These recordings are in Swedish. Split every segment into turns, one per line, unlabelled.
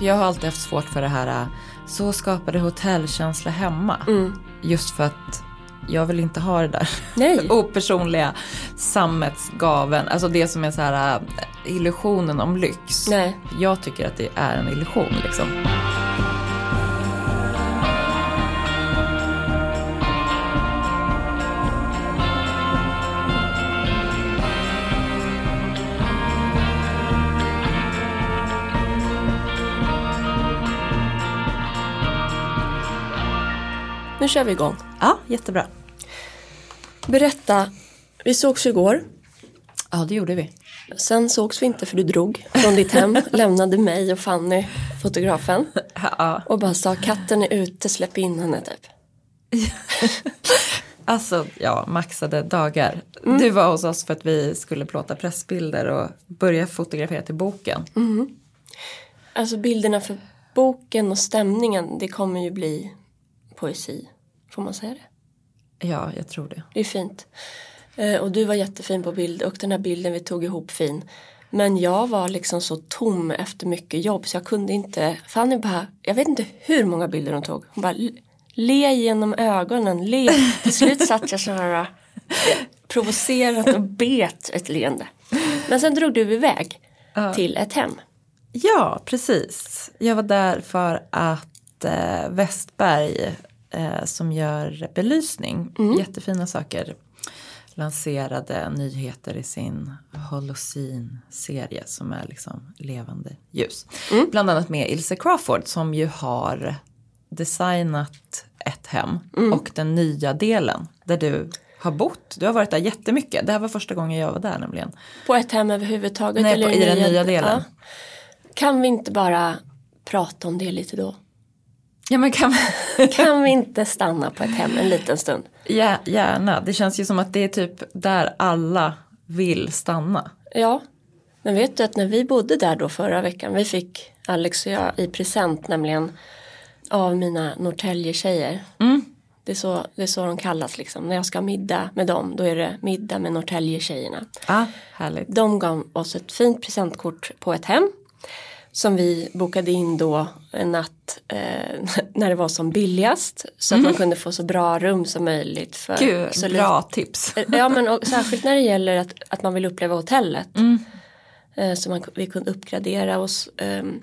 Jag har alltid haft svårt för det här, äh, så skapade hotellkänsla hemma.
Mm.
Just för att jag vill inte ha det där
Nej.
opersonliga sammetsgaven. Alltså det som är så här äh, illusionen om lyx.
Nej.
Jag tycker att det är en illusion liksom.
Nu kör vi igång.
Ja, jättebra.
Berätta, vi sågs ju igår.
Ja, det gjorde vi.
Sen sågs vi inte för du drog från ditt hem, lämnade mig och Fanny, fotografen.
Ja.
Och bara sa katten är ute, släpp in henne typ.
Alltså, ja, maxade dagar. Du var hos oss för att vi skulle plåta pressbilder och börja fotografera till boken.
Alltså bilderna för boken och stämningen, det kommer ju bli poesi. Får man säga det?
Ja, jag tror det.
Det är fint. Eh, Och du var jättefin på bild och den här bilden vi tog ihop fin. Men jag var liksom så tom efter mycket jobb så jag kunde inte. Fanny bara, jag vet inte hur många bilder hon tog. Hon bara, le genom ögonen, le. Till slut satt jag så här eh, provocerat och bet ett leende. Men sen drog du iväg till ett hem.
Ja, precis. Jag var där för att eh, Westberg eh, som gör belysning, jättefina saker, lanserade nyheter i sin Holocene-serie som är liksom levande ljus. Bland annat med Ilse Crawford som ju har designat ett hem och den nya delen där du har bott. Du har varit där jättemycket. Det här var första gången jag var där nämligen.
På ett hem överhuvudtaget?
Nej,
eller
på- i den nya delen.
Ja. Kan vi inte bara prata om det lite då?
Ja, men kan...
Kan vi inte stanna på ett hem en liten stund?
Ja, gärna. Det känns ju som att det är typ där alla vill stanna.
Ja, men vet du att när vi bodde där då förra veckan, vi fick Alex och jag i present nämligen av mina Norrtälje-tjejer. Det, är så, det är så de kallas liksom. När jag ska ha middag med dem, då är det middag med Norrtälje-tjejerna.
Ah, härligt.
De gav oss ett fint presentkort på ett hem. Som vi bokade in då en natt eh, när det var som billigast. Så att man kunde få så bra rum som möjligt. För
Gud,
så lite-
bra tips.
Eh, Ja men och, särskilt när det gäller att, att man vill uppleva hotellet. Eh, Så man, vi kunde uppgradera oss. ehm.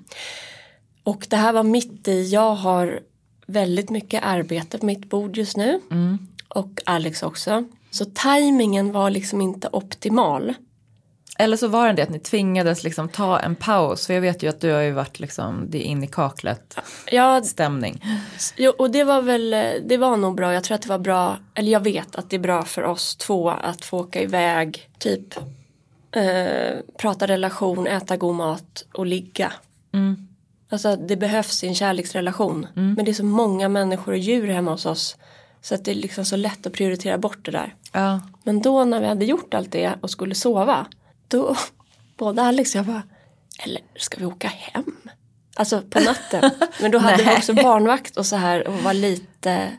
Och det här var mitt i, jag har väldigt mycket arbete på mitt bord just nu. Och Alex också. Så tajmingen var liksom inte optimal.
Eller så var det det att ni tvingades liksom ta en paus. För jag vet ju att du har ju varit liksom, det är in i kaklet
Ja,
stämning.
Jo, och det var väl, eh, det var nog bra. Jag tror att det var bra, eller jag vet att det är bra för oss två att få åka iväg, typ eh, prata relation, äta god mat och ligga. Alltså det behövs i en kärleksrelation. Men det är så många människor och djur hemma hos oss. Så att det är liksom så lätt att prioritera bort det där.
Ja.
Men då när vi hade gjort allt det och skulle sova, då både Alex och jag bara, eller ska vi åka hem? Alltså på natten. Men då hade vi
Nej.
också barnvakt och så här och var lite,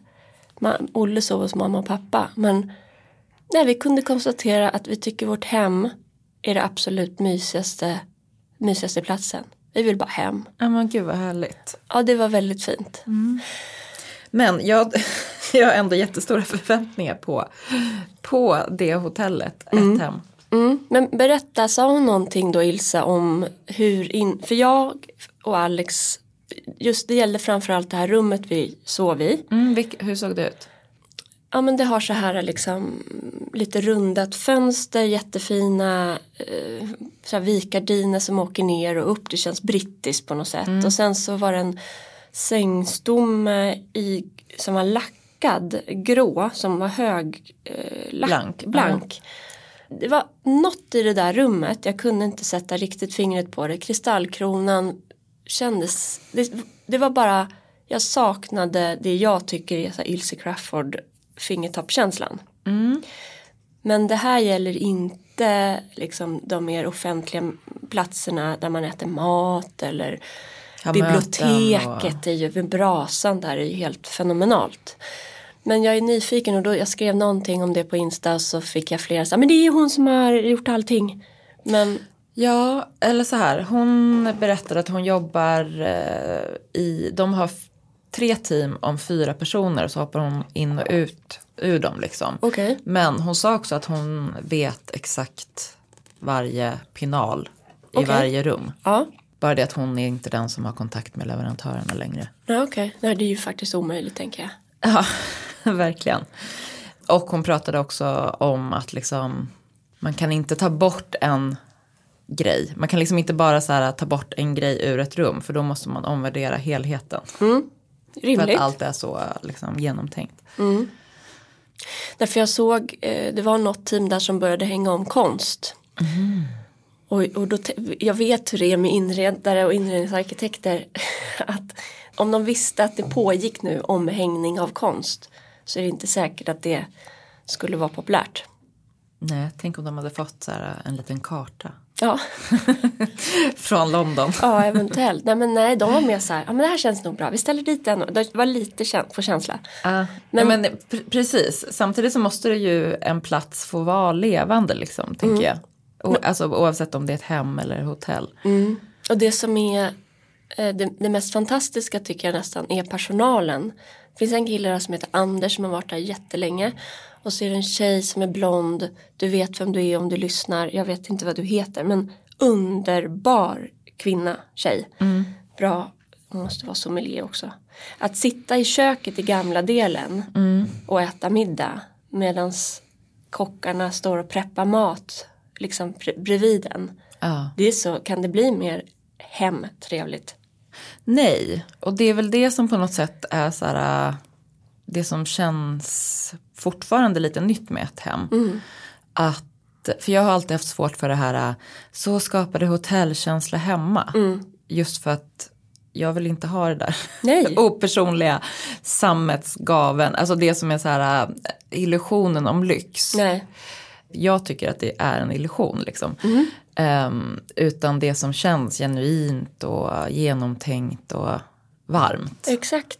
ma- Olle sov hos mamma och pappa. Men nej, vi kunde konstatera att vi tycker vårt hem är det absolut mysigaste, mysigaste platsen. Vi vill bara hem.
ja, men gud vad härligt.
Ja, det var väldigt fint.
Men jag, jag har ändå jättestora förväntningar på, på det hotellet, ett hem.
Mm. Men berätta, sa hon någonting då Ilse om hur in... För jag och Alex, just det gällde framförallt det här rummet vi sov i.
Mm, vilk, hur såg det ut?
Ja men det har så här liksom lite rundat fönster, jättefina eh, så här vikgardiner som åker ner och upp. Det känns brittiskt på något sätt. Och sen så var det en sängstomme i, som var lackad grå som var hög eh, lack,
Blank.
blank. Det var något i det där rummet, jag kunde inte sätta riktigt fingret på det. Kristallkronan kändes, det, det var bara, jag saknade det jag tycker är så här Ilse Crawford fingertoppkänslan. Men det här gäller inte liksom de mer offentliga platserna där man äter mat eller
Ja, möten
biblioteket
och-
är ju, vid brasan där är ju helt fenomenalt. Men jag är nyfiken och då jag skrev någonting om det på Insta och så fick jag flera så här, men det är ju hon som har gjort allting. Men
Ja, eller så här. Hon berättar att hon jobbar eh, i... De har f- tre team om fyra personer och så hoppar hon in och ut ur dem. Liksom.
Okej.
Men hon sa också att hon vet exakt varje pinal i
Okej.
varje rum.
Ja.
Bara det att hon är inte den som har kontakt med leverantörerna längre.
Nej okej. Nej det är ju faktiskt omöjligt tänker jag.
Ja, verkligen. Och hon pratade också om att liksom, man kan inte ta bort en grej. Man kan liksom inte bara så här, ta bort en grej ur ett rum för då måste man omvärdera helheten. För
Rimligt.
att allt är så liksom, genomtänkt.
Därför jag såg, eh, det var något team där som började hänga om konst. Och, och då, te- jag vet hur det är med inredare och inredningsarkitekter. att om de visste att det pågick nu omhängning av konst så är det inte säkert att det skulle vara populärt.
Nej, tänk om de hade fått så här, en liten karta
Ja,
från London.
ja eventuellt. nej, men nej, de var mer så här, ja men det här känns nog bra, vi ställer dit den. och- Det var lite käns- på känsla.
Ja, men, pr- precis, samtidigt så måste det ju en plats få vara levande liksom, tänker jag. O- alltså, oavsett om det är ett hem eller hotell.
Och det som är eh, det, det mest fantastiska tycker jag nästan är personalen. Det finns en kille där som heter Anders som har varit där jättelänge. Och så är det en tjej som är blond. Du vet vem du är om du lyssnar. Jag vet inte vad du heter men underbar kvinna, tjej. Bra, hon måste vara sommelier också. Att sitta i köket i gamla delen och äta middag medan kockarna står och preppar mat liksom pre- bredvid en.
Ja.
Det är så, kan det bli mer hemtrevligt?
Nej, och det är väl det som på något sätt är så här, äh, det som känns fortfarande lite nytt med ett hem. Att, för jag har alltid haft svårt för det här, äh, så skapade hotellkänsla hemma. Just för att jag vill inte ha det där
Nej.
opersonliga sammetsgaven, alltså det som är så här äh, illusionen om lyx
Nej.
jag tycker att det är en illusion. Liksom. Ehm, utan det som känns genuint och genomtänkt och varmt
Exakt.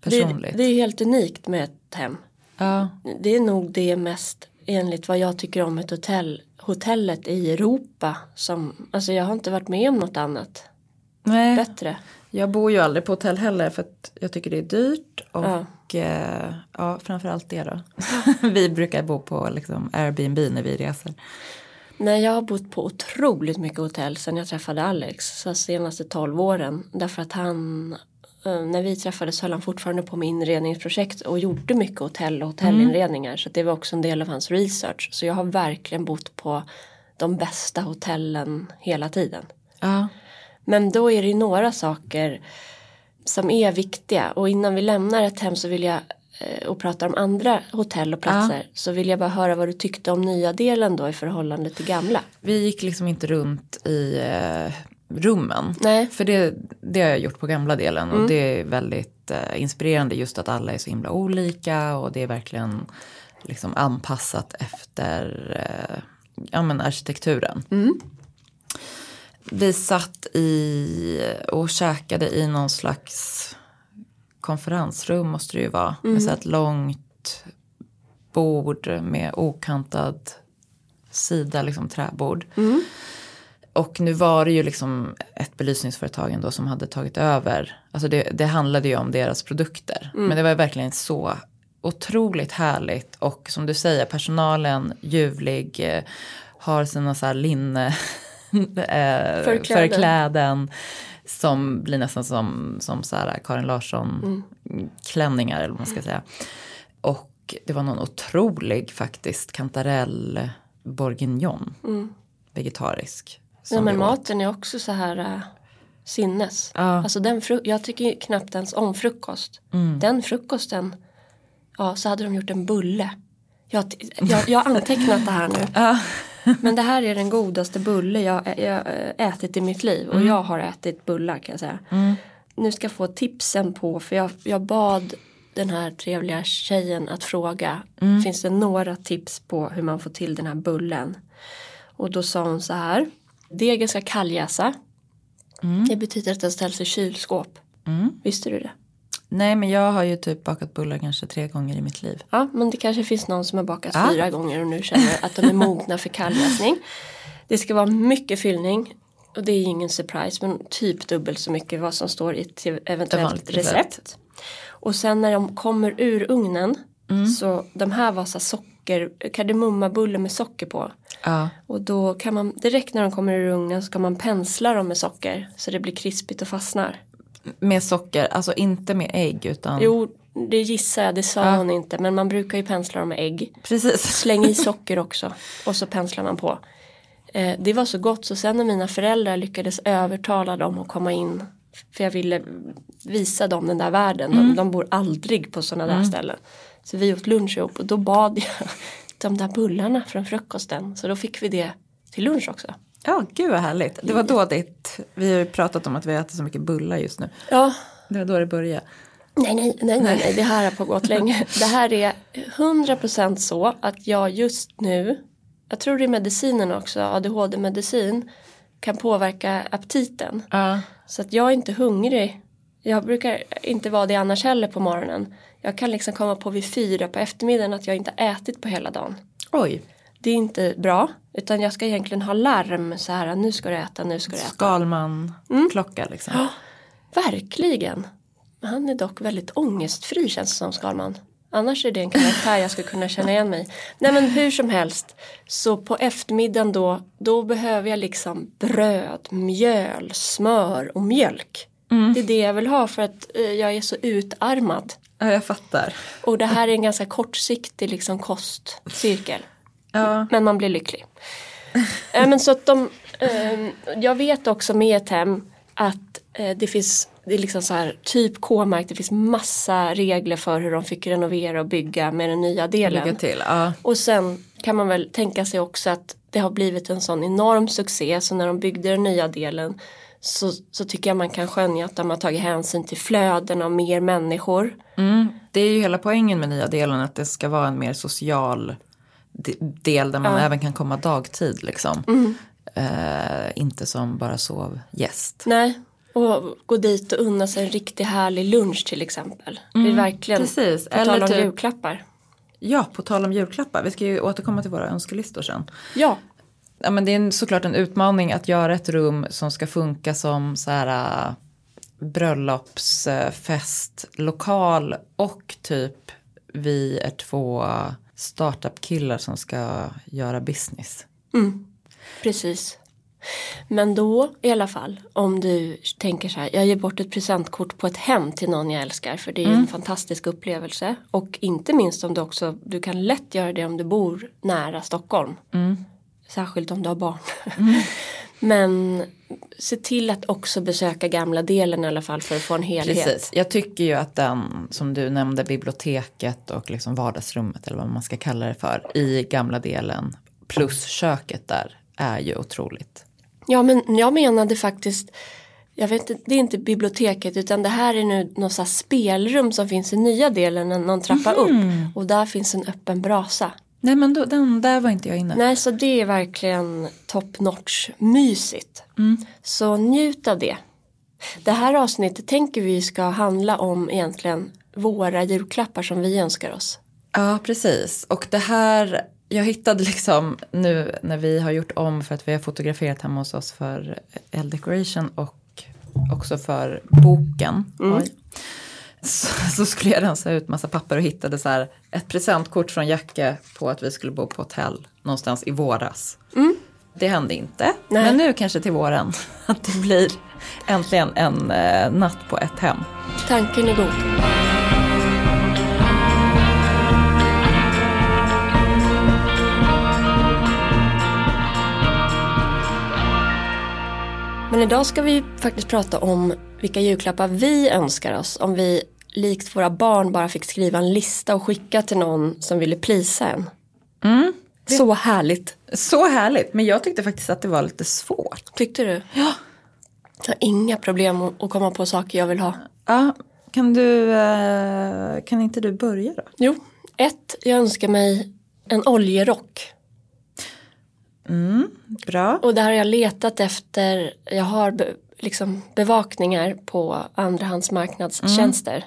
Det,
personligt.
det är helt unikt med ett hem.
Ja,
Det är nog det mest enligt vad jag tycker om ett hotell. Hotellet i Europa som, alltså jag har inte varit med om något annat
nej,
bättre.
jag bor ju aldrig på hotell heller för att jag tycker det är dyrt
Ja.
och eh, ja, framförallt det då. vi brukar bo på liksom, Airbnb när vi reser.
Nej, jag har bott på otroligt mycket hotell sen jag träffade Alex, så senaste 12 åren. Därför att han, eh, när vi träffades höll han fortfarande på med inredningsprojekt och gjorde mycket hotell och hotellinredningar. Så det var också en del av hans research. Så jag har verkligen bott på de bästa hotellen hela tiden.
Ja,
Men då är det ju några saker som är viktiga och innan vi lämnar ett hem så vill jag eh, och pratar om andra hotell och platser så vill jag bara höra vad du tyckte om nya delen då i förhållande till gamla.
vi gick liksom inte runt i eh, rummen.
Nej.
För det, det har jag gjort på gamla delen och det är väldigt eh, inspirerande just att alla är så himla olika och det är verkligen liksom anpassat efter eh, ja, men arkitekturen. Vi satt i och käkade i någon slags konferensrum måste det ju vara. Med så här ett långt bord med okantad sida, liksom träbord. Och nu var det ju liksom ett belysningsföretag ändå som hade tagit över. Alltså det, det handlade ju om deras produkter. Men det var ju verkligen så otroligt härligt. Och som du säger, personalen ljuvlig. eh, Har sina så här linne... eh,
Förkläden.
förkläden. Som blir nästan som, som så här Karin Larsson-klänningar eller vad man ska säga. Och det var någon otrolig faktiskt kantarell bourguignon. Vegetarisk.
Ja,
som
men
vi åt.
maten är också så här äh, sinnes.
Ja.
Alltså den fru- jag tycker ju knappt ens om frukost. Den frukosten, ja så hade de gjort en bulle. Jag, t- jag, jag har antecknat det här nu. Men det här är den godaste bulle jag, ä- jag äh, ätit i mitt liv. Och jag har ätit bullar kan jag säga. Nu ska jag få tipsen på, för jag, jag bad den här trevliga tjejen att fråga. Finns det några tips på hur man får till den här bullen? Och då sa hon så här. Degen ska kalljäsa. Det betyder att den ställs i kylskåp. Visste du det?
Nej men jag har ju typ bakat bullar kanske tre gånger i mitt liv.
Ja, men det kanske finns någon som har bakat
Ja.
fyra gånger och nu känner att de är mogna för kalljäsning. Det ska vara mycket fyllning och det är ingen surprise men typ dubbelt så mycket vad som står i ett eventuellt
vanligt
recept.
recept.
Och sen när de kommer ur ugnen så de här var så här socker, kardemummabullar med socker på.
Ja.
Och då kan man direkt när de kommer ur ugnen så kan man pensla dem med socker så det blir krispigt och fastnar.
Med socker, alltså inte med ägg utan.
Jo, det gissar jag, det sa hon inte men man brukar ju pensla dem med ägg.
Precis.
Släng i socker också och så penslar man på. Eh, det var så gott så sen när mina föräldrar lyckades övertala dem att komma in för jag ville visa dem den där världen. De, de bor aldrig på sådana där ställen. Så vi åt lunch ihop och då bad jag de där bullarna från frukosten. Så då fick vi det till lunch också.
Ja, gud vad härligt. Det var då ditt, vi har ju pratat om att vi äter så mycket bullar just nu.
Ja,
Det var då det började.
Nej, nej, nej, nej, nej, det här har pågått länge. Det här är 100% så att jag just nu, jag tror det är medicinen också, ADHD-medicin, kan påverka aptiten.
Ja.
Så att jag är inte hungrig. Jag brukar inte vara det annars heller på morgonen. Jag kan liksom komma på vid fyra på eftermiddagen att jag inte har ätit på hela dagen.
Oj,
Det är inte bra, utan jag ska egentligen ha larm så här, nu ska du äta, nu ska du äta. Mm.
Skalman-klocka liksom.
Verkligen. Han är dock väldigt ångestfri känns det som Skalman. Annars är det en karaktär jag skulle kunna känna igen mig i. Nej men hur som helst. Så på eftermiddagen då, då behöver jag liksom bröd, mjöl, smör och mjölk. Det är det jag vill ha för att eh, jag är så utarmad.
Ja, jag fattar.
Och det här är en ganska kortsiktig liksom kostcirkel.
Ja.
Men man blir lycklig. Eh, men så att de, ehm, jag vet också med ett hem att eh, det finns det är liksom så här, typ K-mark, det finns massa regler för hur de fick renovera och bygga med den nya
Lycka
delen.
till. Ja.
Och sen kan man väl tänka sig också att det har blivit en sån enorm succé så när de byggde den nya delen så, så tycker jag man kan skönja att de har tagit hänsyn till flöden av mer människor.
Mm. Det är ju hela poängen med nya delen att det ska vara en mer social de- del där man även kan komma dagtid liksom. Eh, inte som bara sovgäst.
Nej, och gå dit och unna sig en riktigt härlig lunch till exempel. det är verkligen,
Mm, precis.
på
Eller
tal om
typ-
julklappar.
Ja, på tal om julklappar, vi ska ju återkomma till våra önskelistor sen.
Ja,
Ja, men det är en- såklart en utmaning att göra ett rum som ska funka som så här äh, bröllopsfestlokal och typ vi är två startup-killar som ska göra business.
precis. Men då i alla fall, om du tänker så här, jag ger bort ett presentkort på ett hem till någon jag älskar för det är ju
Mm.
en fantastisk upplevelse. Och inte minst om du också, du kan lätt göra det om du bor nära Stockholm.
Mm.
Särskilt om du har barn. Men se till att också besöka gamla delen i alla fall för att få en helhet.
Precis, jag tycker ju att den som du nämnde, biblioteket och liksom vardagsrummet eller vad man ska kalla det för i gamla delen plus köket där är ju otroligt.
Ja, men jag menade faktiskt, jag vet inte, det är inte biblioteket utan det här är nu något så här spelrum som finns i nya delen, en- någon trappa upp och där finns en öppen brasa.
Nej men då, den, där var inte jag inne.
Nej, så det är verkligen top notch, mysigt. Så njut av det. Det här avsnittet tänker vi ska handla om egentligen våra julklappar som vi önskar oss.
Ja, precis. Och det här, jag hittade liksom nu när vi har gjort om för att vi har fotograferat hemma hos oss för L Decoration och också för boken. Oj. Så, så skulle jag rensa ut massa papper och hittade så här ett presentkort från Jacke på att vi skulle bo på hotell någonstans i våras. Det hände inte,
Nej.
men nu kanske till våren att det blir äntligen en eh, natt på ett hem.
Tanken är god. Men idag ska vi faktiskt prata om vilka julklappar vi önskar oss. Om vi likt våra barn bara fick skriva en lista och skicka till någon som ville plisa en. Så härligt.
Så härligt, men jag tyckte faktiskt att det var lite svårt.
Tyckte du? Ja. Jag har inga problem att att komma på saker jag vill ha.
Ja, kan, du, eh, kan inte du börja då?
Jo, ett, jag önskar mig en oljerock.
Bra.
Och där har jag letat efter, jag har be, liksom bevakningar på andrahandsmarknadstjänster.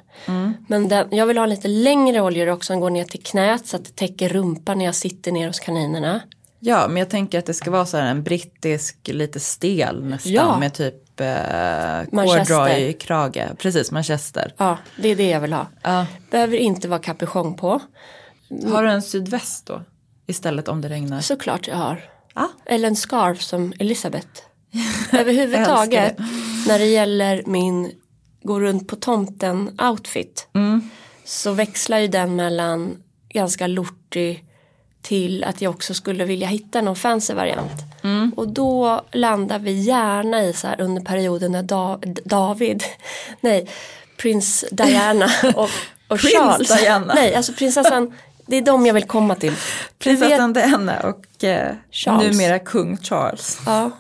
Men den, jag vill ha en lite längre oljerock som går ner till knät så att det täcker rumpan när jag sitter ner hos kaninerna.
Ja, men jag tänker att det ska vara så här en brittisk, lite stel nästan
Ja.
med typ eh,
Manchester.
corduroy-krage. Precis, manchester.
Ja, det är det jag vill ha.
Ja.
Behöver inte vara kapuschong på.
Har du en sydväst då? Istället om det regnar?
Såklart jag har.
Ja.
Eller en scarf som Elisabeth.
Jag
Överhuvudtaget
älskar
när det gäller min gå runt på tomten outfit.
Mm.
Så växlar ju den mellan ganska lortig till att jag också skulle vilja hitta någon fancy variant.
Mm.
Och då landar vi gärna i så här under perioden när da- David, nej, prins Diana och, och
Prins
Charles.
Diana.
Nej, alltså prinsessan, det är de jag vill komma till. Vi vet-
Prinsessan Diana och eh,
Charles.
numera kung Charles.
Ja,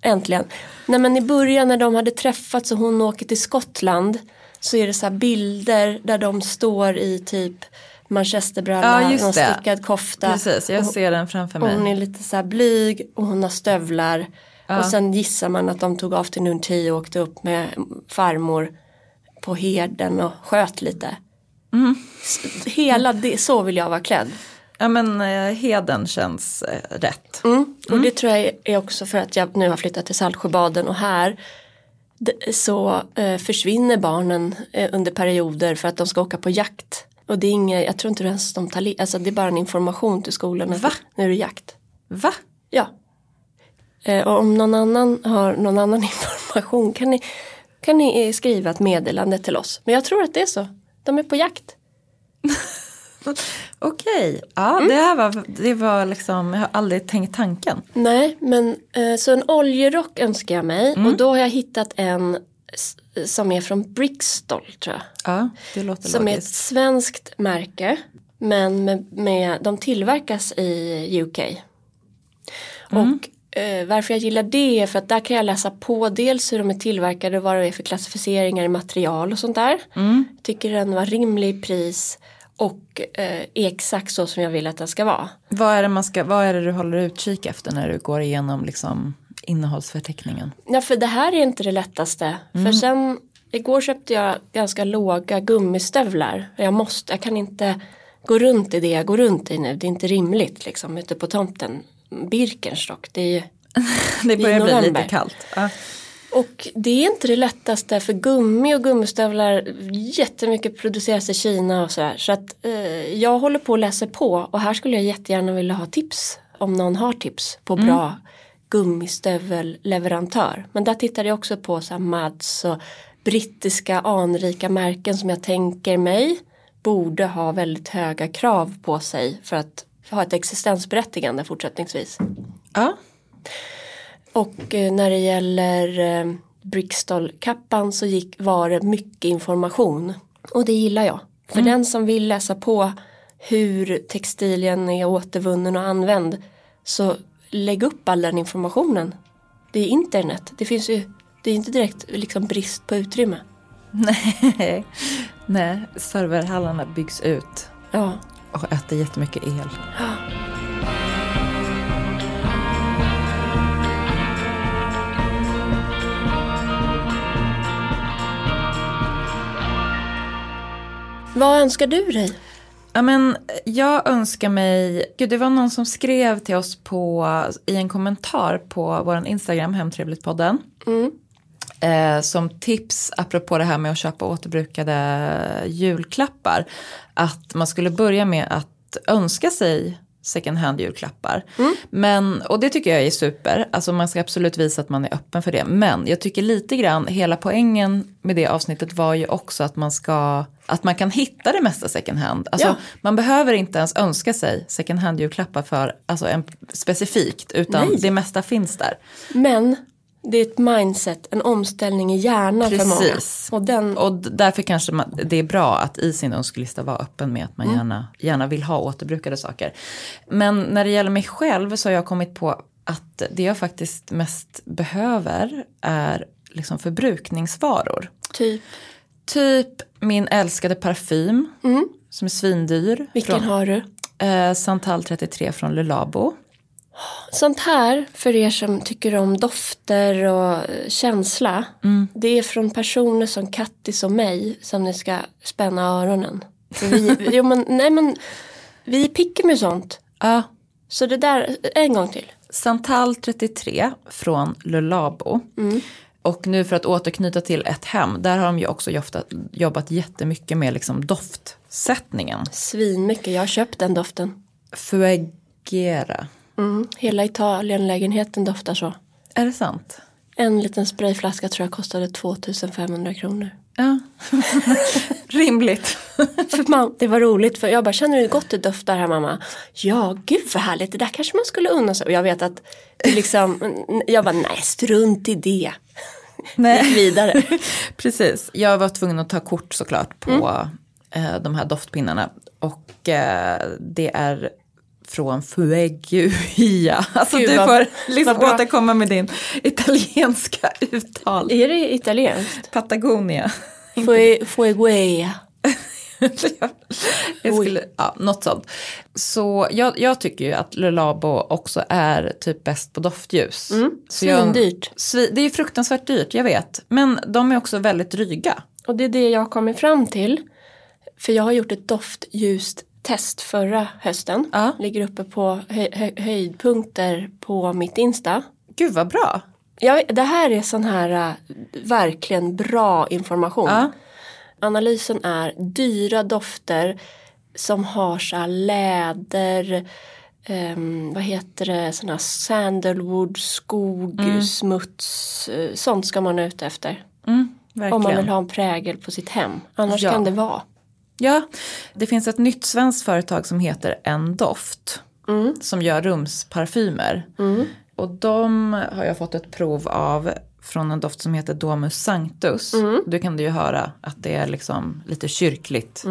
äntligen. Nej men i början när de hade träffats och hon åker till Skottland så är det så här bilder där de står i typ manchesterbralla,
Ja, just
någon
det.
stickad kofta.
Precis, jag ser den framför
Och hon
mig.
är lite så här blyg och hon har stövlar. Och sen gissar man att de tog afternoon tea och åkte upp med farmor på herden och sköt lite.
Mm.
S- Hela det, så vill jag vara klädd.
Ja men eh, heden känns eh, rätt.
Mm. Och det tror jag är också för att jag nu har flyttat till Saltsjöbaden och här d- så eh, försvinner barnen eh, under perioder för att de ska åka på jakt. Och det är inget, jag tror inte ens de tar li- alltså det är bara en information till skolan att
Va?
nu är det jakt.
Va?
Ja. Eh, och om någon annan har någon annan information kan ni, kan ni eh, skriva ett meddelande till oss. Men jag tror att det är så. De är på jakt.
Okej, ja
Mm.
det här var, det var liksom, jag har aldrig tänkt tanken.
Nej, men eh, så en oljerock önskar jag mig och då har jag hittat en s- som är från Brixtol tror jag.
Ja, det låter
Som är ett
logiskt.
svenskt märke men med, med, de tillverkas i UK. Och eh, varför jag gillar det är för att där kan jag läsa på dels hur de är tillverkade och vad det är för klassificeringar i material och sånt där. Tycker den var rimlig i pris och eh, är exakt så som jag vill att den ska vara.
Vad är, det man ska, vad är det du håller utkik efter när du går igenom liksom, innehållsförteckningen?
Ja, för det här är inte det lättaste. För sen, igår köpte jag ganska låga gummistövlar. Jag måste, jag kan inte gå runt i det jag går runt i nu. Det är inte rimligt liksom ute på tomten. Birkenstock, det är ju...
Det börjar bli
november.
lite kallt. Ja.
Och det är inte det lättaste för gummi och gummistövlar jättemycket produceras i Kina och sådär. Så att eh, jag håller på och läser på och här skulle jag jättegärna vilja ha tips om någon har tips på bra gummistövelleverantör. Men där tittade jag också på så här Mads och brittiska anrika märken som jag tänker mig borde ha väldigt höga krav på sig för att ha ett existensberättigande fortsättningsvis.
Ja.
Och eh, när det gäller eh, Brixtol-kappan så gick, var det mycket information. Och det gillar jag. För den som vill läsa på hur textilien är återvunnen och använd så lägg upp all den informationen. Det är internet. Det finns ju, det är inte direkt liksom brist på utrymme.
Nej. Nej, serverhallarna byggs ut
Ja.
och äter jättemycket el.
Vad önskar du dig?
Ja, men jag önskar mig, gud det var någon som skrev till oss på, i en kommentar på vår Instagram, Hemtrevligt-podden. Eh, som tips, apropå det här med att köpa återbrukade julklappar, att man skulle börja med att önska sig second hand julklappar.
Mm.
Men, och det tycker jag är super, alltså man ska absolut visa att man är öppen för det. Men jag tycker lite grann, hela poängen med det avsnittet var ju också att man ska, att man kan hitta det mesta second hand. Alltså,
Ja.
Man behöver inte ens önska sig second hand julklappar för, alltså en, specifikt, utan
Nej.
det mesta finns där.
Men det är ett mindset, en omställning i hjärnan för många.
Precis.
Och den,
Och d- därför kanske man, det är bra att i sin önskelista vara öppen med att man
Mm.
gärna, gärna vill ha återbrukade saker. Men när det gäller mig själv så har jag kommit på att det jag faktiskt mest behöver är liksom förbrukningsvaror.
typ,
Typ min älskade parfym som är svindyr.
Mm. vilken
från,
har du?
eh, Santal 33 från Lulabo.
Sånt här, för er som tycker om dofter och eh, känsla, det är från personer som Kattis och mig som ni ska spänna öronen. För vi, jo, men, nej, men, vi är picky med sånt.
Ja,
Så det där, en gång till.
Santal 33 från Lulabo. Och nu för att återknyta till ett hem, där har de ju också jobbat, jobbat jättemycket med liksom doftsättningen.
Svinmycket, jag har köpt den doften.
Fuegera,
Mm. Hela Italienlägenheten doftar så.
är det sant?
En liten sprayflaska tror jag kostade 2500 kronor.
Ja, rimligt.
För man, det var roligt för jag bara känner du hur gott det doftar här mamma? Ja gud vad härligt det där kanske man skulle unna sig och jag vet att det liksom jag bara nej strunt i det. Gick vidare.
Precis, jag var tvungen att ta kort såklart på
Mm.
eh, de här doftpinnarna. Och eh, det är från Fueguia. Alltså
Gud,
du
vad-
får
vad
liksom
bra.
återkomma med din italienska uttal.
Är det italienskt?
Patagonia.
Fue- Mm, Fueguea.
jag
Oj.
skulle, ja, något sånt. Så jag, jag tycker ju att Lulabo också är typ bäst på doftljus. Så jag-
Mm. Svindyrt.
Svi- det är ju fruktansvärt dyrt, jag vet. Men de är också väldigt dryga.
Och det är det jag har kommit fram till. För jag har gjort ett doftljust test förra hösten.
Ja.
Ligger uppe på hö- hö- höjdpunkter på mitt Insta.
Gud vad bra.
Ja, det här är sån här äh, verkligen bra information.
Ja.
Analysen är dyra dofter som har så här läder, ehm, vad heter det, sån här sandalwood, skog, smuts, eh, sånt ska man ut efter.
Mm,
Om man
verkligen.
vill ha en prägel på sitt hem, annars
Ja.
kan det vara.
Ja, det finns ett nytt svenskt företag som heter En Doft. Som gör rumsparfymer. Och de har jag fått ett prov av från en doft som heter Domus Sanctus. Du kan du ju höra att det är liksom lite kyrkligt.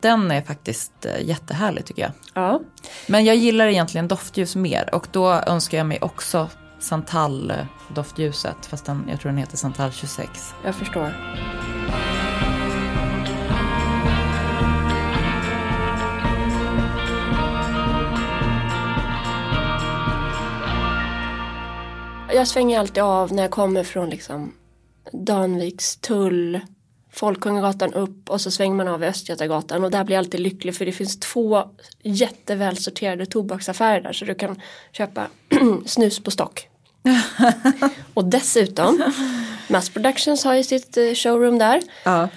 Den är faktiskt eh, jättehärlig tycker jag.
Ja.
Men jag gillar egentligen doftljus mer och då önskar jag mig också Santal eh, doftljuset. Fast den, jag tror den heter Santal 26.
Jag förstår. Jag svänger alltid av när jag kommer från liksom Danviks tull, Folkungagatan upp och så svänger man av vid Östgötagatan och där blir jag alltid lycklig för det finns två jätteväl sorterade tobaksaffärer där så du kan köpa snus på stock. och dessutom, Mass Productions har ju sitt eh, showroom där.
Ja.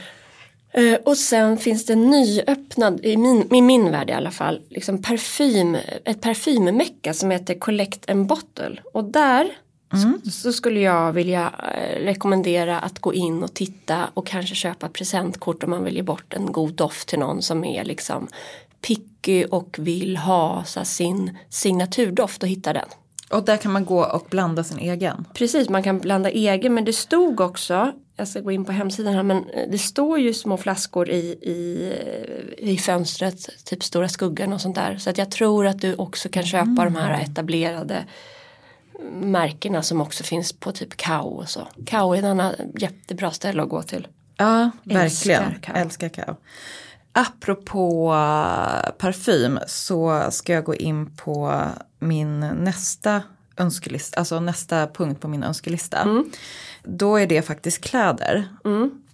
Eh, Och sen finns det nyöppnad, i min, i min värld i alla fall, liksom parfym, ett parfymmecka som heter Collect and Bottle. Och där så, så skulle jag vilja eh, rekommendera att gå in och titta och kanske köpa presentkort om man vill ge bort en god doft till någon som är liksom picky och vill ha så här, sin signaturdoft och hitta den.
Och där kan man gå och blanda sin egen.
Precis, man kan blanda egen men det stod också, jag ska gå in på hemsidan här, men eh, det står ju små flaskor i, i, eh, i fönstret, typ stora skuggan och sånt där. Så att jag tror att du också kan köpa
Mm.
de här etablerade märkena som också finns på typ Kao och så. Kao är ett annat jättebra ställe att gå till.
Ja,
Älskar
verkligen.
kakao.
Älskar kakao. Apropå eh, parfym så ska jag gå in på min nästa önskelista, alltså nästa punkt på min önskelista. Då är det faktiskt kläder.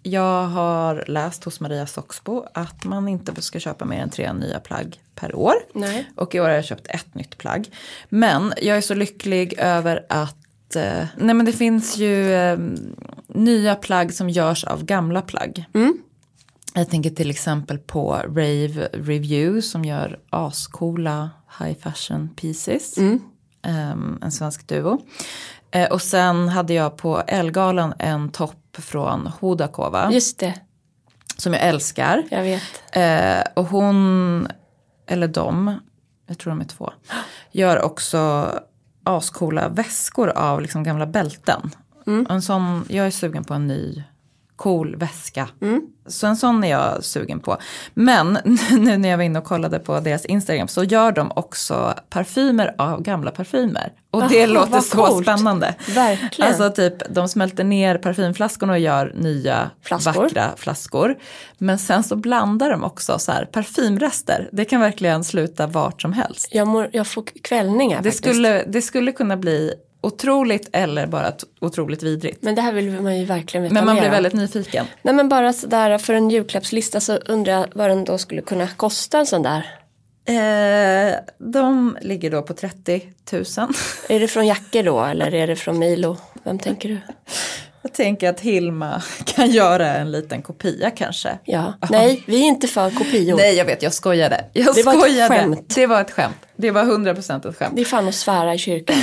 Jag har läst hos Maria Soxbo att man inte ska köpa mer än tre nya plagg per år.
Nej.
Och i år har jag köpt ett nytt plagg. Men jag är så lycklig över att eh, nej men det finns ju eh, nya plagg som görs av gamla plagg. Jag tänker till exempel på Rave Review som gör ascoola high fashion pieces. Ehm, en svensk duo. Eh, och sen hade jag på Elgalan en topp från Hodakova
Just det,
som jag älskar.
jag vet.
Eh, och hon, eller de, jag tror de är två, gör också ascoola väskor av liksom gamla bälten.
Mm.
Och En sån, jag är sugen på en ny cool väska.
Mm.
Så en sån är jag sugen på. Men nu när jag var inne och kollade på deras Instagram så gör de också parfymer av gamla parfymer. Och det
Aha,
låter
vad
så
coolt.
spännande.
Verkligen.
Alltså typ de smälter ner parfymflaskorna och gör nya
Flaskor.
vackra vackra flaskor. Men sen så blandar de också så här, parfymrester. Det kan verkligen sluta vart som helst.
Jag, mår, jag får kvällningar
Det
faktiskt.
skulle, det skulle kunna bli otroligt eller bara t- otroligt vidrigt.
Men det här vill man ju verkligen veta
Men man
mer
blir
om.
väldigt nyfiken.
Nej men bara sådär för en julklappslista så undrar jag vad den då skulle kunna kosta en sån där
Eh, de ligger då på 30 000.
Är det från jackor då eller är det från Milo? Vem tänker du?
Jag tänker att Hilma kan göra en liten kopia kanske.
Ja, nej vi är inte för kopior.
Nej jag vet, jag skojade. Jag
Det var ett
skojade.
skämt.
Det var ett skämt. Det var 100% ett skämt.
Det är fan att svära i kyrkan.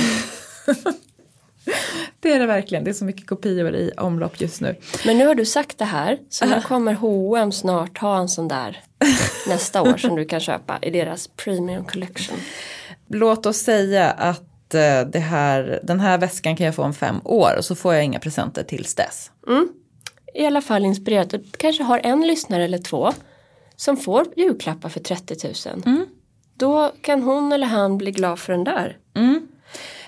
Det är det verkligen, det är så mycket kopior i omlopp just nu.
Men nu har du sagt det här så nu kommer H&M snart ha en sån där nästa år som du kan köpa i deras premium collection.
Låt oss säga att eh, det här, den här väskan kan jag få om fem år och så får jag inga presenter tills dess.
I alla fall inspirerat. Du kanske har en lyssnare eller två som får julklappar för 30 000. Då kan hon eller han bli glad för den där.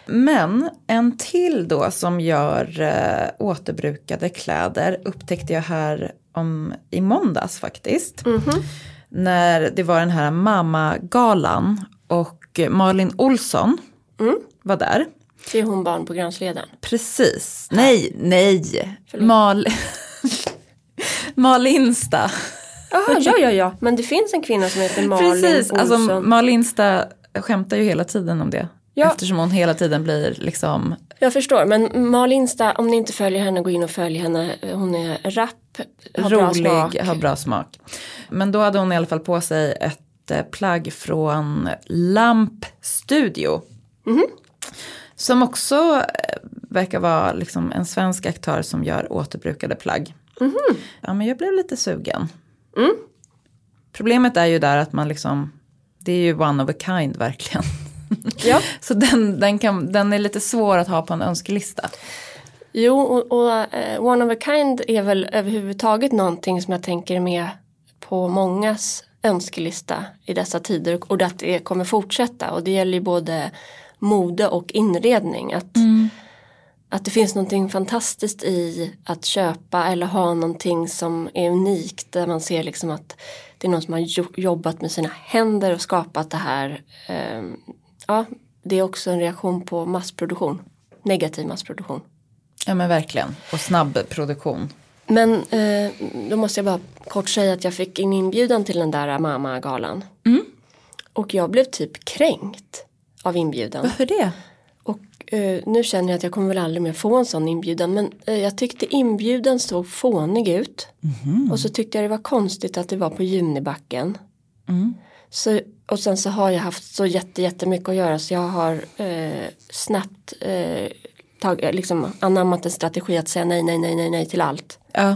Men en till då som gör eh, återbrukade kläder upptäckte jag här om, i måndags faktiskt. När det var den här mammagalan och Malin Olsson var där.
Det är hon barnprogramsledaren.
Precis, nej, nej, Mal... Malinsta.
Jaha, ja, ja, ja. Men det finns en kvinna som heter Malin
Precis,
Olsson.
alltså Malinsta skämtar ju hela tiden om det.
Ja.
Eftersom hon hela tiden blir liksom
Jag förstår, men Malinsta, om ni inte följer henne, gå in och följ henne. Hon är rapp, har bra
rolig,
smak.
har bra smak. Men då hade hon i alla fall på sig ett eh, plagg från Lamp Studio. Som också eh, verkar vara liksom en svensk aktör som gör återbrukade plagg. Ja men jag blev lite sugen. Problemet är ju där att man liksom, det är ju one of a kind verkligen.
Ja.
Så den, den, kan, den är lite svår att ha på en önskelista.
Jo, och, och eh, One of a Kind är väl överhuvudtaget någonting som jag tänker är med på mångas önskelista i dessa tider och- och att det kommer fortsätta och det gäller ju både mode och inredning. Att, att det finns någonting fantastiskt i att köpa eller ha någonting som är unikt där man ser liksom att det är någon som har jo- jobbat med sina händer och skapat det här. Ehm, Ja, det är också en reaktion på massproduktion, negativ massproduktion.
Ja men verkligen. Och snabb produktion.
Men eh, då måste jag bara kort säga att jag fick en inbjudan till den där mamma-galan. Och jag blev typ kränkt av inbjudan.
Varför det?
Och eh, nu känner jag att jag kommer väl aldrig mer få en sån inbjudan. Men eh, jag tyckte inbjudan såg fånig ut. Och så tyckte jag det var konstigt att det var på Junibacken. Så, och sen så har jag haft så jätte, jättemycket att göra så jag har eh, snabbt eh, tag, liksom anammat en strategi att säga nej, nej, nej, nej, nej till allt.
Ja.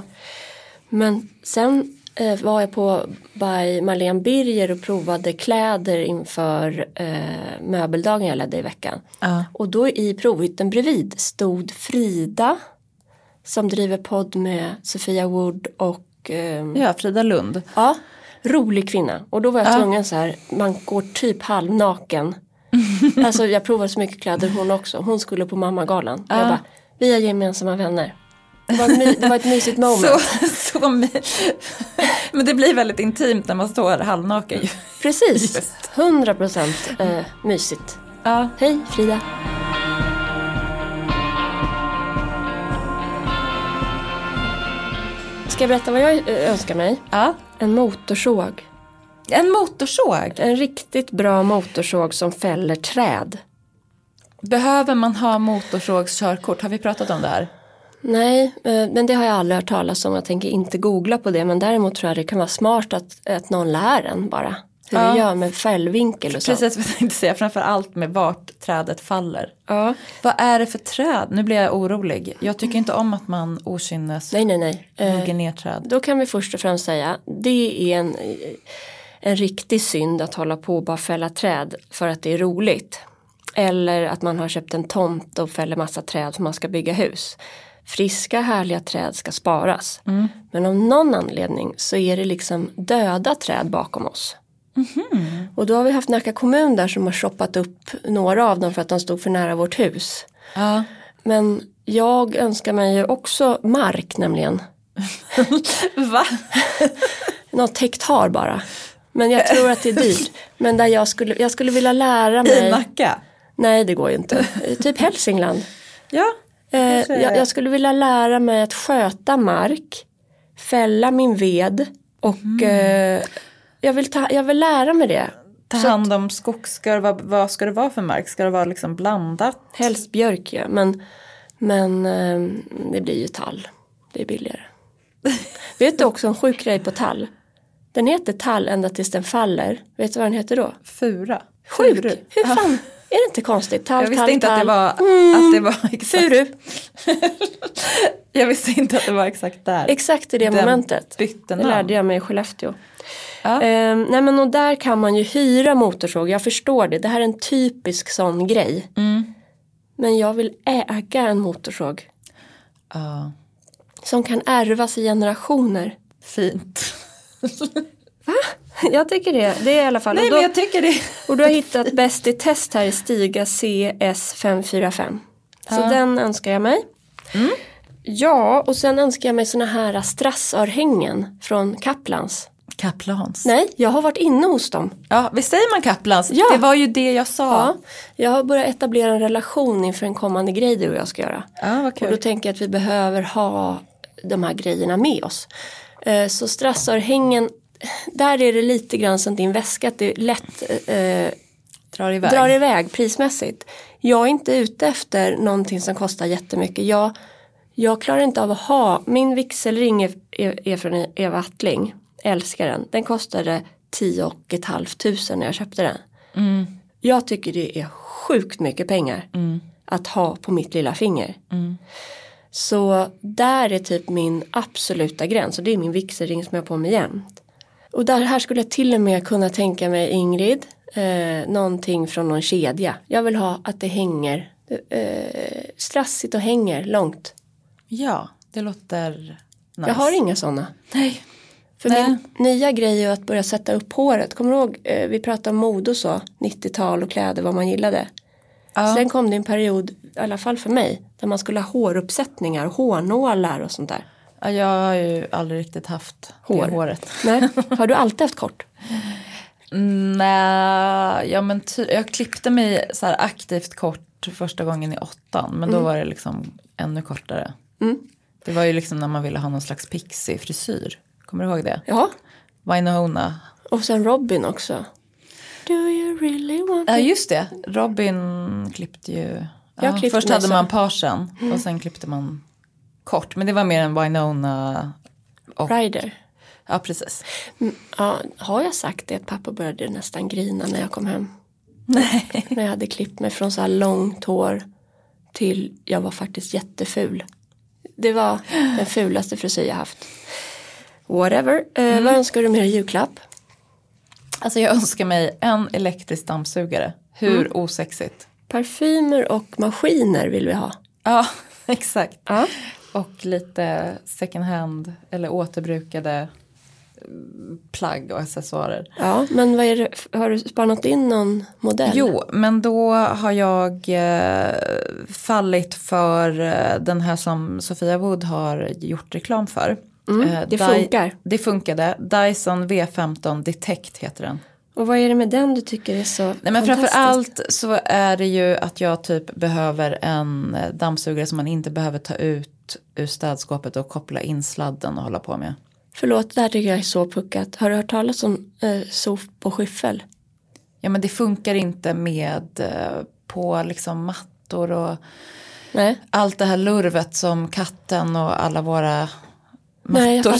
Men sen eh, var jag på by Marlene Birger och provade kläder inför eh, möbeldagen jag ledde i veckan.
Ja.
Och då i provhytten bredvid stod Frida som driver podd med Sofia Wood och eh,
Ja, Frida Lund.
ja, rolig kvinna. Och då var jag
Ja.
tvungen så här, man går typ halvnaken. alltså jag provar så mycket kläder hon också. Hon skulle på mammagalan. Och Jag bara, vi är gemensamma vänner. Det var, my- det var ett mysigt moment.
Så, så my- Men det blir väldigt intimt när man står halvnaken. ju.
Precis, 100 procent eh, mysigt.
Ja.
Hej Frida. Ska jag berätta vad jag eh, önskar mig?
ja.
En motorsåg.
En motorsåg.
En riktigt bra motorsåg som fäller träd.
Behöver man ha motorsågskörkort? Har vi pratat om det här?
Nej, eh, men det har jag aldrig hört talas om. Jag tänker inte googla på det. Men däremot tror jag det kan vara smart att, att någon lär en bara. Hur
Ja.
vi gör med fällvinkel och sånt.
Precis vad jag tänkte säga, framförallt med vart trädet faller.
Ja.
Vad är det för träd? Nu blir jag orolig. Jag tycker inte om att man okynnes
Nej, nej, nej. Eh,
hugger ner träd.
Då kan vi först och främst säga det är en, en riktig synd att hålla på och bara fälla träd för att det är roligt. Eller att man har köpt en tomt och fäller massa träd för man ska bygga hus. Friska härliga träd ska sparas. Men av någon anledning så är det liksom döda träd bakom oss. Och då har vi haft Nacka kommun där som har shoppat upp några av dem för att de stod för nära vårt hus.
Ja.
Men jag önskar mig ju också mark nämligen.
Va?
något hektar bara. Men jag tror att det är dyrt. Men där jag skulle, jag skulle vilja lära
I
mig.
Nacka?
Nej, det går ju inte. Eh, Typ Hälsingland.
Ja.
Eh,
Kanske-
jag, jag skulle vilja lära mig att sköta mark,
Mm.
fälla min ved och eh, jag, vill ta, jag vill lära mig det.
Ta hand om skog, ska det vara, vad ska det vara för mark? Ska det vara liksom blandat?
Helst björk ju, men, men eh, det blir ju tall. Det är billigare. Vet du också en sjuk grej på tall? Den heter tall ända tills den faller. Vet du vad den heter då?
Fura?
Sjuk!
Furu.
Hur fan? Är det inte konstigt? Tall,
Jag visste
tall,
inte
tall.
att det var, att det var exakt.
Mm. Furu,
Jag visste inte att det var exakt där.
exakt i det
Den
momentet.
bytte
Det
namn.
lärde jag mig i Skellefteå.
Ja.
Ehm, nej men och där kan man ju hyra motorsåg, jag förstår det. Det här är en typisk sån grej.
Mm.
Men jag vill äga en motorsåg
Ja,
som kan ärvas i generationer.
fint.
Jag tycker det, det är i alla fall.
Nej
och, då,
men jag tycker det.
och du har hittat bäst i test här i Stiga CS545. Så
Ja. Mm.
den önskar jag mig. Ja, och sen önskar jag mig såna här strassörhängen från Kaplans.
Kaplans.
Nej, jag har varit inne hos dem.
Ja, visst säger man Kaplans?
Ja.
Det var ju det jag sa.
Ja, jag har börjat etablera en relation inför en kommande grej du och jag ska göra.
Ja, vad
Och då tänker jag att vi behöver ha de här grejerna med oss. Eh, Så strassörhängen, där är det lite grann som din väska, att det är lätt eh,
Drar iväg.
drar iväg prismässigt. Jag är inte ute efter någonting som kostar jättemycket. Jag, jag klarar inte av att ha, min vigselring är, är, är från Eva Attling, jag älskar den. Den kostade 10 och ett halvt tusen när jag köpte den.
Mm.
Jag tycker det är sjukt mycket pengar att ha på mitt lilla finger.
Mm.
Så där är typ min absoluta gräns och det är min vigselring som jag har på mig jämt. Och där här skulle jag till och med kunna tänka mig Ingrid, eh, någonting från någon kedja. Jag vill ha att det hänger eh, strassigt och hänger långt.
Ja, det låter nice.
Jag har inga sådana.
Nej.
För
Nej.
min nya grej är att börja sätta upp håret. Kommer du ihåg, eh, vi pratade om mode och så, 90-tal och kläder, vad man gillade.
Ja.
Sen kom det en period, i alla fall för mig, där man skulle ha håruppsättningar, hårnålar och sånt där.
Ja, jag har ju aldrig riktigt haft
Hår.
det håret.
Nej, har du alltid haft kort?
Nej, ja, men ty- jag klippte mig så här aktivt kort första gången i åttan. Men
Mm.
då var det liksom ännu kortare. Det var ju liksom när man ville ha någon slags pixie frisyr. Kommer du ihåg det?
Ja,
Winona.
och sen Robin också. Do you really want
Ja
me?
just det, Robin klippte ju. Ja,
Jag klippte
först
mig
hade
så. Mm.
man parsen och sen klippte man kort. Men det var mer en Winona. Och,
Rider.
ja precis.
Mm, Ja, har jag sagt det att pappa började nästan grina när jag kom hem?
Nej.
När jag hade klippt mig från så här långt hår till jag var faktiskt jätteful. Det var den fulaste frisyr jag haft. Whatever.
Mm.
Eh, vad önskar du med dig i julklapp?
Alltså jag önskar mig en elektrisk dammsugare. Hur
Mm.
osexigt.
Parfymer och maskiner vill vi ha.
Ja exakt.
Ja.
Och lite second hand eller återbrukade mm, plagg och accessoarer.
Ja, men vad är det, har du spannat in någon modell?
Jo, men då har jag eh, fallit för eh, den här som Sofia Wood har gjort reklam för. Eh,
Mm, det
Dy-
funkar.
Det funkade. Dyson V15 Detect heter den.
Och vad är det med den du tycker är så
Nej, men framför
fantastisk?
allt så är det ju att jag typ behöver en eh, dammsugare som man inte behöver ta ut ur städskåpet och koppla in sladden och hålla på med.
Förlåt, det här tycker jag är så puckat. Har du hört talas om eh, sof på skyffel?
Ja men det funkar inte med eh, på liksom mattor och
Nej.
allt det här lurvet som katten och alla våra
Nej, jag
mattor
fattar.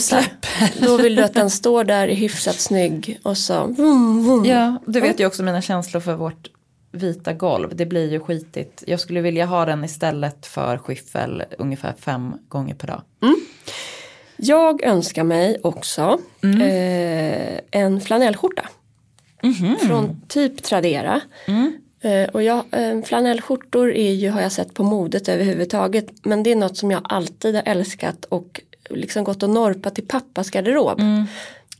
släpper.
Då vill du att den står där i hyfsat snygg och så vum, vum.
Ja, du vet ju också mina känslor för vårt vita golv. Det blir ju skitigt. Jag skulle vilja ha den istället för skyffel ungefär fem gånger per dag.
Jag önskar mig också
Mm.
eh, en flanellskjorta.
Mhm.
Från typ Tradera.
Mm.
Eh, och jag, eh, flanellskjortor är ju, har jag sett på modet överhuvudtaget. Men det är något som jag alltid har älskat och liksom gått och norpat till pappas garderob.
Mm.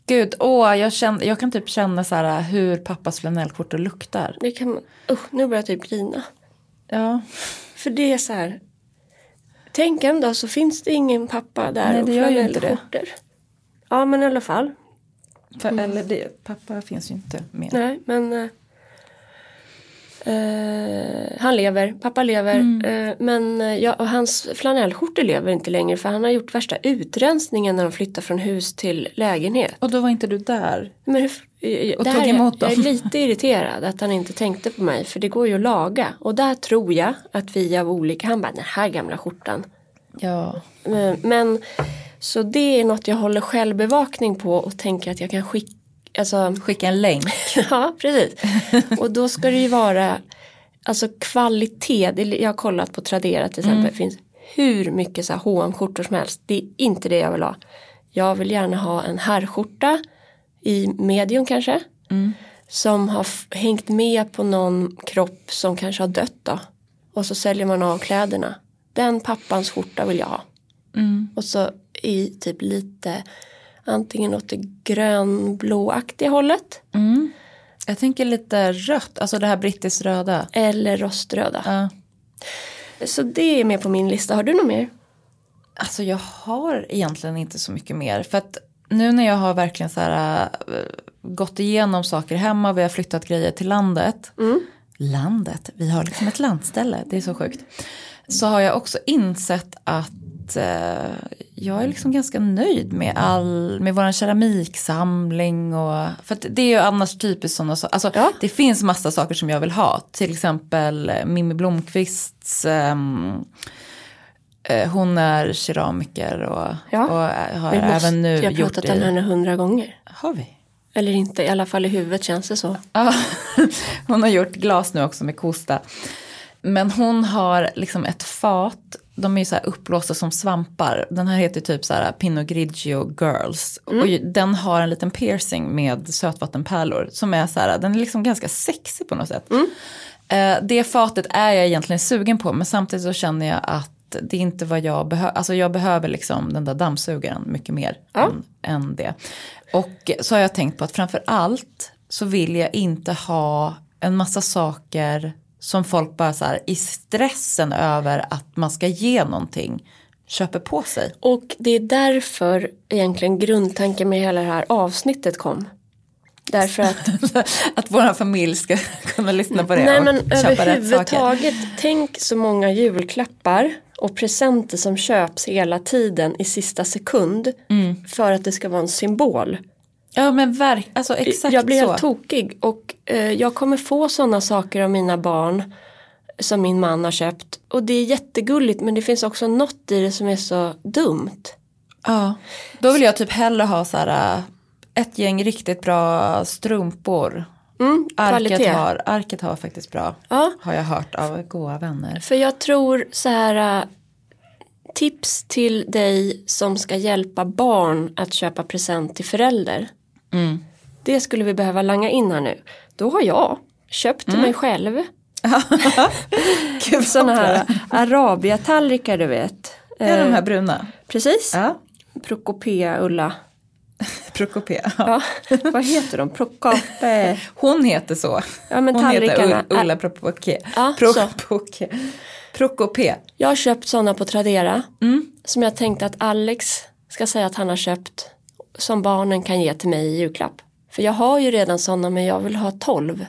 Gud, åh, jag, känner, jag kan typ känna så här hur pappas flanellskjortor luktar.
Det kan man, usch, nu börjar jag typ grina.
Ja,
För det är så här. Tänk en dag så finns det ingen pappa där
Nej,
och
det gör ju inte det.
flanellskjortor. Ja men i alla fall.
för, eller det, pappa finns ju inte med.
Nej men. Eh, eh, han lever, pappa lever. Eh, men eh, ja, och hans flanellskjortor lever inte längre för han har gjort värsta utrensningen när de flyttar från hus till lägenhet.
Och då var inte du där.
Men hur, eh, jag-
Och
det
tog
här är-
emot dem.
Jag är lite irriterad att han inte tänkte på mig för det går ju att laga. Och där tror jag att vi av olika, han bara den här gamla skjortan.
Ja.
Men- Eh, Men så det är något jag håller självbevakning på och tänker att jag kan skicka, alltså
Skicka en länk.
Ja, precis. Och då ska det ju vara alltså kvalitet. Det- Jag har kollat på Tradera till exempel. Det finns hur mycket så här hm skjortor som helst. Det är inte det jag vill ha. Jag vill gärna ha en herrskjorta i medium kanske. Som har f- hängt med på någon kropp som kanske har dött då. Och så säljer man av kläderna. Den pappans skjorta vill jag ha. Och så i typ lite antingen åt det grönblåaktiga hållet.
Mm. Jag tänker lite rött, alltså det här brittiskt röda.
Eller roströda.
Ja.
Så det är med på min lista. Har du något mer?
Alltså jag har egentligen inte så mycket mer. För att nu när jag har verkligen så här, äh, gått igenom saker hemma, vi har flyttat grejer till landet. Landet, vi har liksom ett landställe, det är så sjukt. Så har jag också insett att eh, jag är liksom ganska nöjd med all, med våran keramiksamling och, för att det är ju annars typiskt sådana saker, alltså
Ja.
det finns massa saker som jag vill ha, till exempel eh, Mimmi Blomqvists ehm, Eh, Hon är keramiker och,
Ja.
och eh, har
Vi måste-
även nu
jag har
gjort
pratat om
i-
henne hundra gånger.
Har vi?
Eller inte, i alla fall i huvudet känns det så.
Ja. Hon har gjort glas nu också med kosta. Men hon har liksom ett fat, de är ju så här uppblåsta som svampar. Den här heter typ så här Pinot Grigio Girls. Och ju- den har en liten piercing med sötvattenpärlor. Som är så här, den är liksom ganska sexig på något sätt. Eh, Det fatet är jag egentligen sugen på men samtidigt så känner jag att det är inte vad jag behöver, alltså jag behöver liksom den där dammsugaren mycket mer än, än det. Och så har jag tänkt på att framför allt så vill jag inte ha en massa saker som folk bara så här i stressen över att man ska ge någonting köper på sig.
Och det är därför egentligen grundtanken med hela det här avsnittet kom. Därför att,
att vår familj ska kunna lyssna på det
nej
och
men
köpa rätt saker.
överhuvudtaget, tänk så många julklappar och presenter som köps hela tiden i sista sekund.
Mm.
För att det ska vara en symbol.
Ja men verkligen, alltså exakt
jag blir
så.
helt tokig och eh, jag kommer få sådana saker av mina barn som min man har köpt. Och det är jättegulligt men det finns också något i det som är så dumt.
Ja, då vill jag typ hellre ha så här äh, ett gäng riktigt bra strumpor.
Mm,
Arket
kvalitet.
har, arket har faktiskt bra,
Ja.
har jag hört av goa vänner.
För jag tror så här eh, tips till dig som ska hjälpa barn att köpa present till förälder. Mm. Det skulle vi behöva langa in här nu. Då har jag köpt
Mm.
till mig själv
Gud,
sådana här arabiatallrikar du vet. Eh,
Det är de här bruna.
Precis.
Ja.
Procopea Ulla.
Prokopea. Ja.
Ja, vad heter de? Procape.
Hon heter så.
Ja, men
Hon heter
tallrikarna
U- Ulla Prokope.
Ja, så.
Prokope. Prokope.
Jag har köpt sådana på Tradera. Som jag tänkte att Alex ska säga att han har köpt. Som barnen kan ge till mig i julklapp. För jag har ju redan sådana men jag vill ha tolv.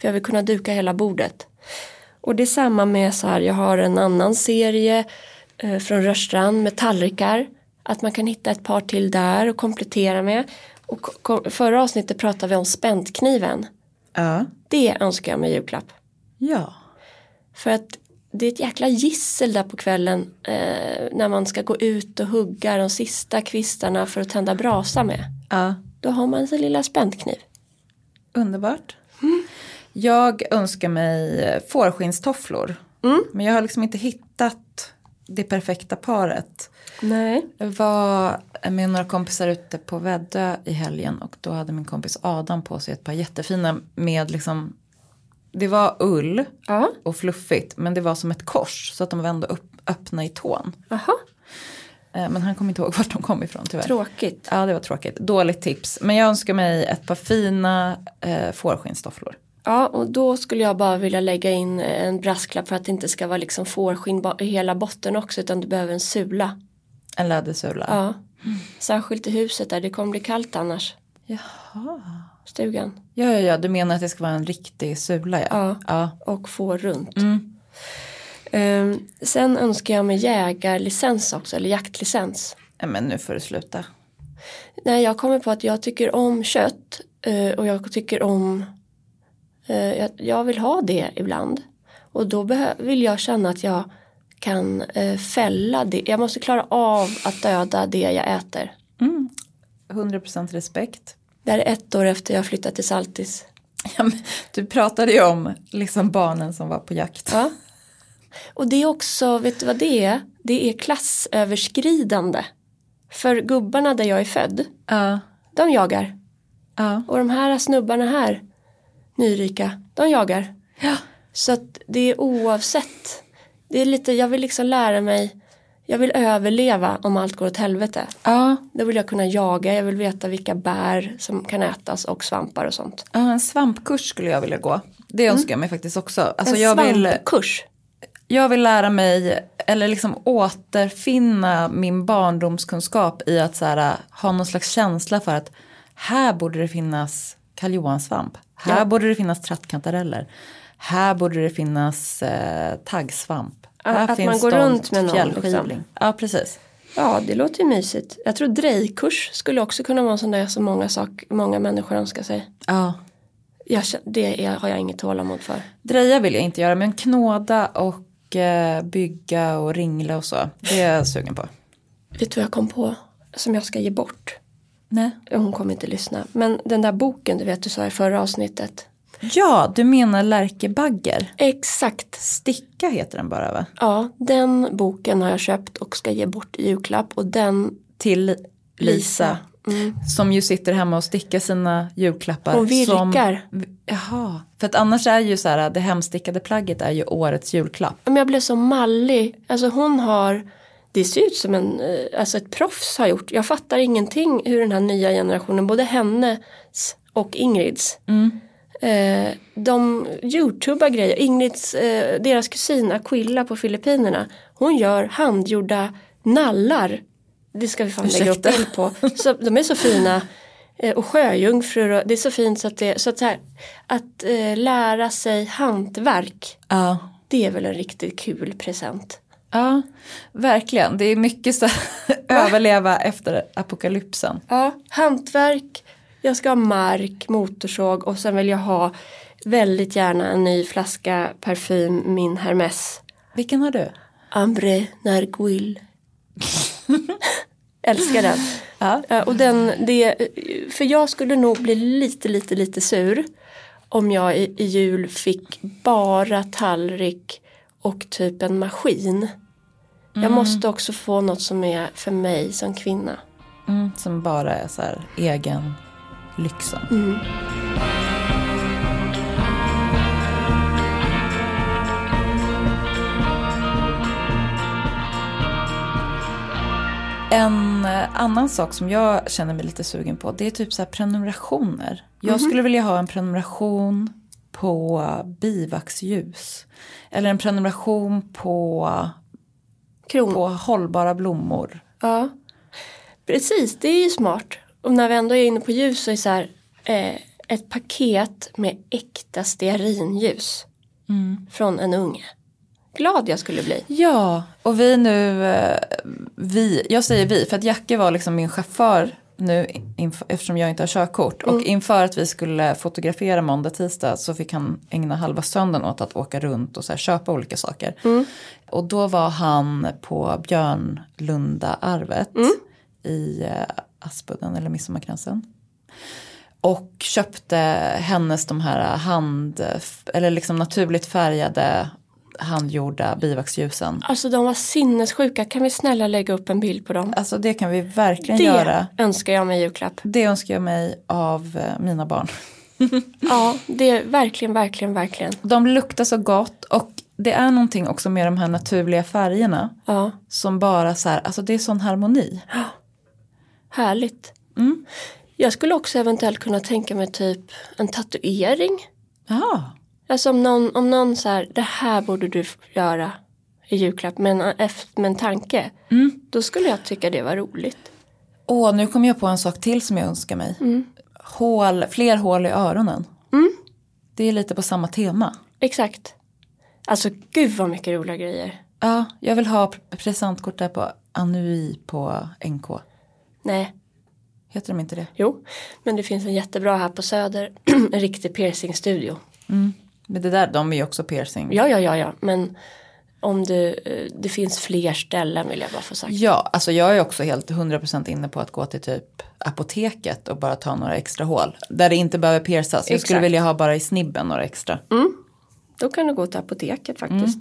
För jag vill kunna duka hela bordet. Och det är samma med så här, jag har en annan serie eh, från Rörstrand med tallrikar. Att man kan hitta ett par till där och komplettera med. Och ko- ko- förra avsnittet pratade vi om späntkniven.
Ja.
Det önskar jag mig i julklapp.
Ja.
För att det är ett jäkla gissel där på kvällen eh, när man ska gå ut och hugga de sista kvistarna för att tända brasa med.
Ja.
Då har man sin lilla späntkniv.
Underbart.
Mm.
Jag önskar mig eh, fårskinnstofflor.
Mm.
Men jag har liksom inte hittat det perfekta paret.
Nej.
Jag var med några kompisar ute på Väddö i helgen och då hade min kompis Adam på sig ett par jättefina med liksom Det var ull
Ja.
och fluffigt men det var som ett kors så att de var ändå upp, öppna i tån.
Aha.
Eh, Men han kom inte ihåg vart de kom ifrån tyvärr.
Tråkigt.
Ja det var tråkigt, dåligt tips. Men jag önskar mig ett par fina eh, fårskinnstofflor.
Ja, och då skulle jag bara vilja lägga in eh, en brasklapp för att det inte ska vara liksom fårskinn ba- i hela botten också utan du behöver en sula.
En lädersula.
Ja. Särskilt i huset där det kommer bli kallt annars.
Jaha.
Stugan.
Ja, ja, ja, du menar att det ska vara en riktig sula ja.
Ja.
ja.
och få runt. Ehm, sen önskar jag mig jägarlicens också, eller jaktlicens.
Eh, Nej, Men nu får du sluta.
Nej, jag kommer på att jag tycker om kött Eh, och jag tycker om, eh, jag, jag vill ha det ibland. Och då behö- vill jag känna att jag kan eh, fälla det. Jag måste klara av att döda det jag äter.
100% respekt.
Det här är ett år efter jag flyttat till Saltis.
Ja, men Du pratade ju om liksom barnen som var på jakt.
Ja. Och det är också, vet du vad det är? Det är klassöverskridande. För gubbarna där jag är född,
Ja.
de jagar.
Ja.
Och de här snubbarna här, nyrika, de jagar.
Ja.
Så att det är oavsett. Det är lite, jag vill liksom lära mig, jag vill överleva om allt går åt helvete.
ja.
Då vill jag kunna jaga, jag vill veta vilka bär som kan ätas och svampar och sånt.
Ja, en svampkurs skulle jag vilja gå. Det önskar jag mig faktiskt också. Alltså
Mm. en
jag, vill,
svampkurs.
jag vill lära mig, eller liksom återfinna min barndomskunskap i att så här, ha någon slags känsla för att här borde det finnas karljohansvamp. Här borde det finnas trattkantareller. Här borde det finnas eh, taggsvamp.
Ja,
här
att man går
stolt
runt med någon,
fjällskivling.
liksom.
Ja, precis.
Ja, det låter ju mysigt. Jag tror drejkurs skulle också kunna vara en sån där som många, sak, många människor önskar sig.
Ja.
Jag, kän- det är, har jag inget tålamod för.
Dreja vill jag inte göra, men knåda och eh, bygga och ringla och så. Det är jag sugen på.
Vet du vad jag kom på? Som jag ska ge bort.
Nej.
Hon kommer inte lyssna. Men den där boken du vet du sa i förra avsnittet.
Ja, du menar Lärke Bagger.
Exakt.
Sticka heter den bara va?
Ja, den boken har jag köpt och ska ge bort i julklapp. Och den
Till Lisa.
Lisa. Mm.
Som ju sitter hemma och stickar sina julklappar.
Hon virkar.
Som, jaha, för att annars är ju så här det hemstickade plagget är ju årets julklapp.
Men jag blev så mallig. Alltså hon har, det ser ut som en, eh, alltså ett proffs har gjort. Jag fattar ingenting hur den här nya generationen, både hennes och Ingrids. Eh, de youtubar grejer. Ingrids, eh, deras kusin Aquilla på Filippinerna. Hon gör handgjorda nallar. Det ska vi fan lägga upp
Ursäkta.
bild på. Så, de är så fina. Eh, och sjöjungfrur. Och, det är så fint så att det, så att, så här, att eh, lära sig hantverk.
Ja.
Det är väl en riktigt kul present.
Ja, verkligen. Det är mycket så här, överleva efter apokalypsen.
Ja, hantverk, jag ska ha mark, motorsåg och sen vill jag ha väldigt gärna en ny flaska parfym, min Hermes.
Vilken har du?
Ambre Narguil. Älskar den.
Ja.
Eh, Och den, det, för jag skulle nog bli lite, lite, lite sur om jag i, i jul fick bara tallrik och typ en maskin. Jag måste också få något som är för mig som kvinna.
Mm, som bara är så här egen lyxen. En eh, annan sak som jag känner mig lite sugen på det är typ så här prenumerationer. Jag skulle vilja ha en prenumeration på bivaxljus. Eller en prenumeration på,
Kronor.
på hållbara blommor.
Ja, precis. Det är ju smart. Och när vi ändå är inne på ljus så är det så här, eh, ett paket med äkta stearinljus
Mm.
från en unge. Glad jag skulle bli.
Ja, och vi nu, eh, vi, jag säger vi, för att Jacke var liksom min chaufför nu inf- eftersom jag inte har körkort. Och inför att vi skulle fotografera måndag, tisdag så fick han ägna halva söndagen åt att åka runt och så här, köpa olika saker. Och då var han på Björnlunda-arvet i eh, Aspudden eller Midsommarkransen. Och köpte hennes de här hand, eller liksom naturligt färgade handgjorda bivaxljusen.
Alltså de var sinnessjuka. Kan vi snälla lägga upp en bild på dem?
Alltså det kan vi verkligen
Det
göra.
önskar jag mig i julklapp.
Det önskar jag mig av eh, mina barn.
Ja, det är verkligen, verkligen, verkligen.
De luktar så gott och det är någonting också med de här naturliga färgerna
Ja,
som bara så här, alltså det är sån harmoni.
härligt.
Mm.
Jag skulle också eventuellt kunna tänka mig typ en tatuering.
Ja,
Alltså om någon, om någon så här, det här borde du f- göra i julklapp med en, eff- med en tanke. Då skulle jag tycka det var roligt.
åh nu kom jag på en sak till som jag önskar mig. Hål, fler hål i öronen. Det är lite på samma tema.
Exakt. Alltså gud vad mycket roliga grejer.
Ja, jag vill ha pre- presentkort där på Anui på NK.
Nej,
Heter de inte det?
Jo, men det finns en jättebra här på Söder, en riktig piercingstudio.
Mm. Men det där, de är ju också piercing.
Ja, ja, ja, ja, men om du, eh, det finns fler ställen vill jag bara få sagt.
Ja, alltså jag är också helt 100% inne på att gå till typ apoteket och bara ta några extra hål. Där det inte behöver persas. Jag skulle
Exakt.
vilja ha bara i snibben några extra.
Då kan du gå till apoteket faktiskt.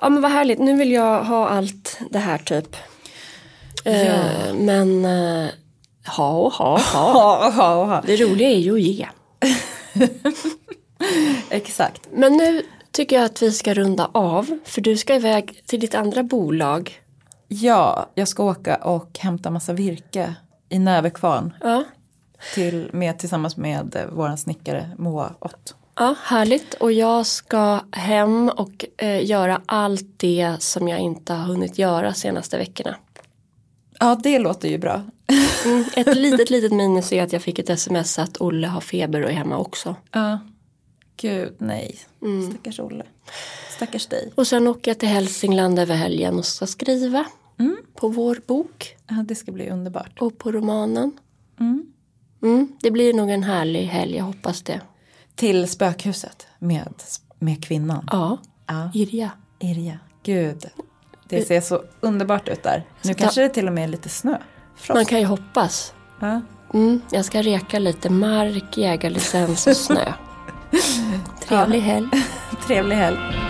Ja men vad härligt, nu vill jag ha allt det här typ. Eh, men eh, ha och ha och ha.
Ja, ja, ja.
Det roliga är ju att ge.
Exakt.
Men nu tycker jag att vi ska runda av. För du ska iväg till ditt andra bolag.
Ja, jag ska åka och hämta massa virke i Nävekvarn
Ja,
till, med, tillsammans med eh, våran snickare Moa Ott.
ja härligt. Och jag ska hem och eh, göra allt det som jag inte har hunnit göra senaste veckorna.
Ja, det låter ju bra.
Mm, ett litet, litet minus är att jag fick ett sms att Olle har feber och är hemma också.
Ja. Gud, nej. Stackars Olle. Stackars dig.
Och sen åker jag till Hälsingland över helgen och ska skriva på vår bok
Ja, det ska bli underbart.
och på romanen.
Mm.
Mm, det blir nog en härlig helg, jag hoppas det.
Till spökhuset med, med kvinnan.
Ja,
Ja,
Irja.
Irja. Gud, det ser så underbart ut där. Nu
ta-
kanske det till och med är lite snö. Frost.
Man kan ju hoppas.
Ja.
Mm, jag ska reka lite mark, jägarlicens och snö. Trevlig helg.
Trevlig helg.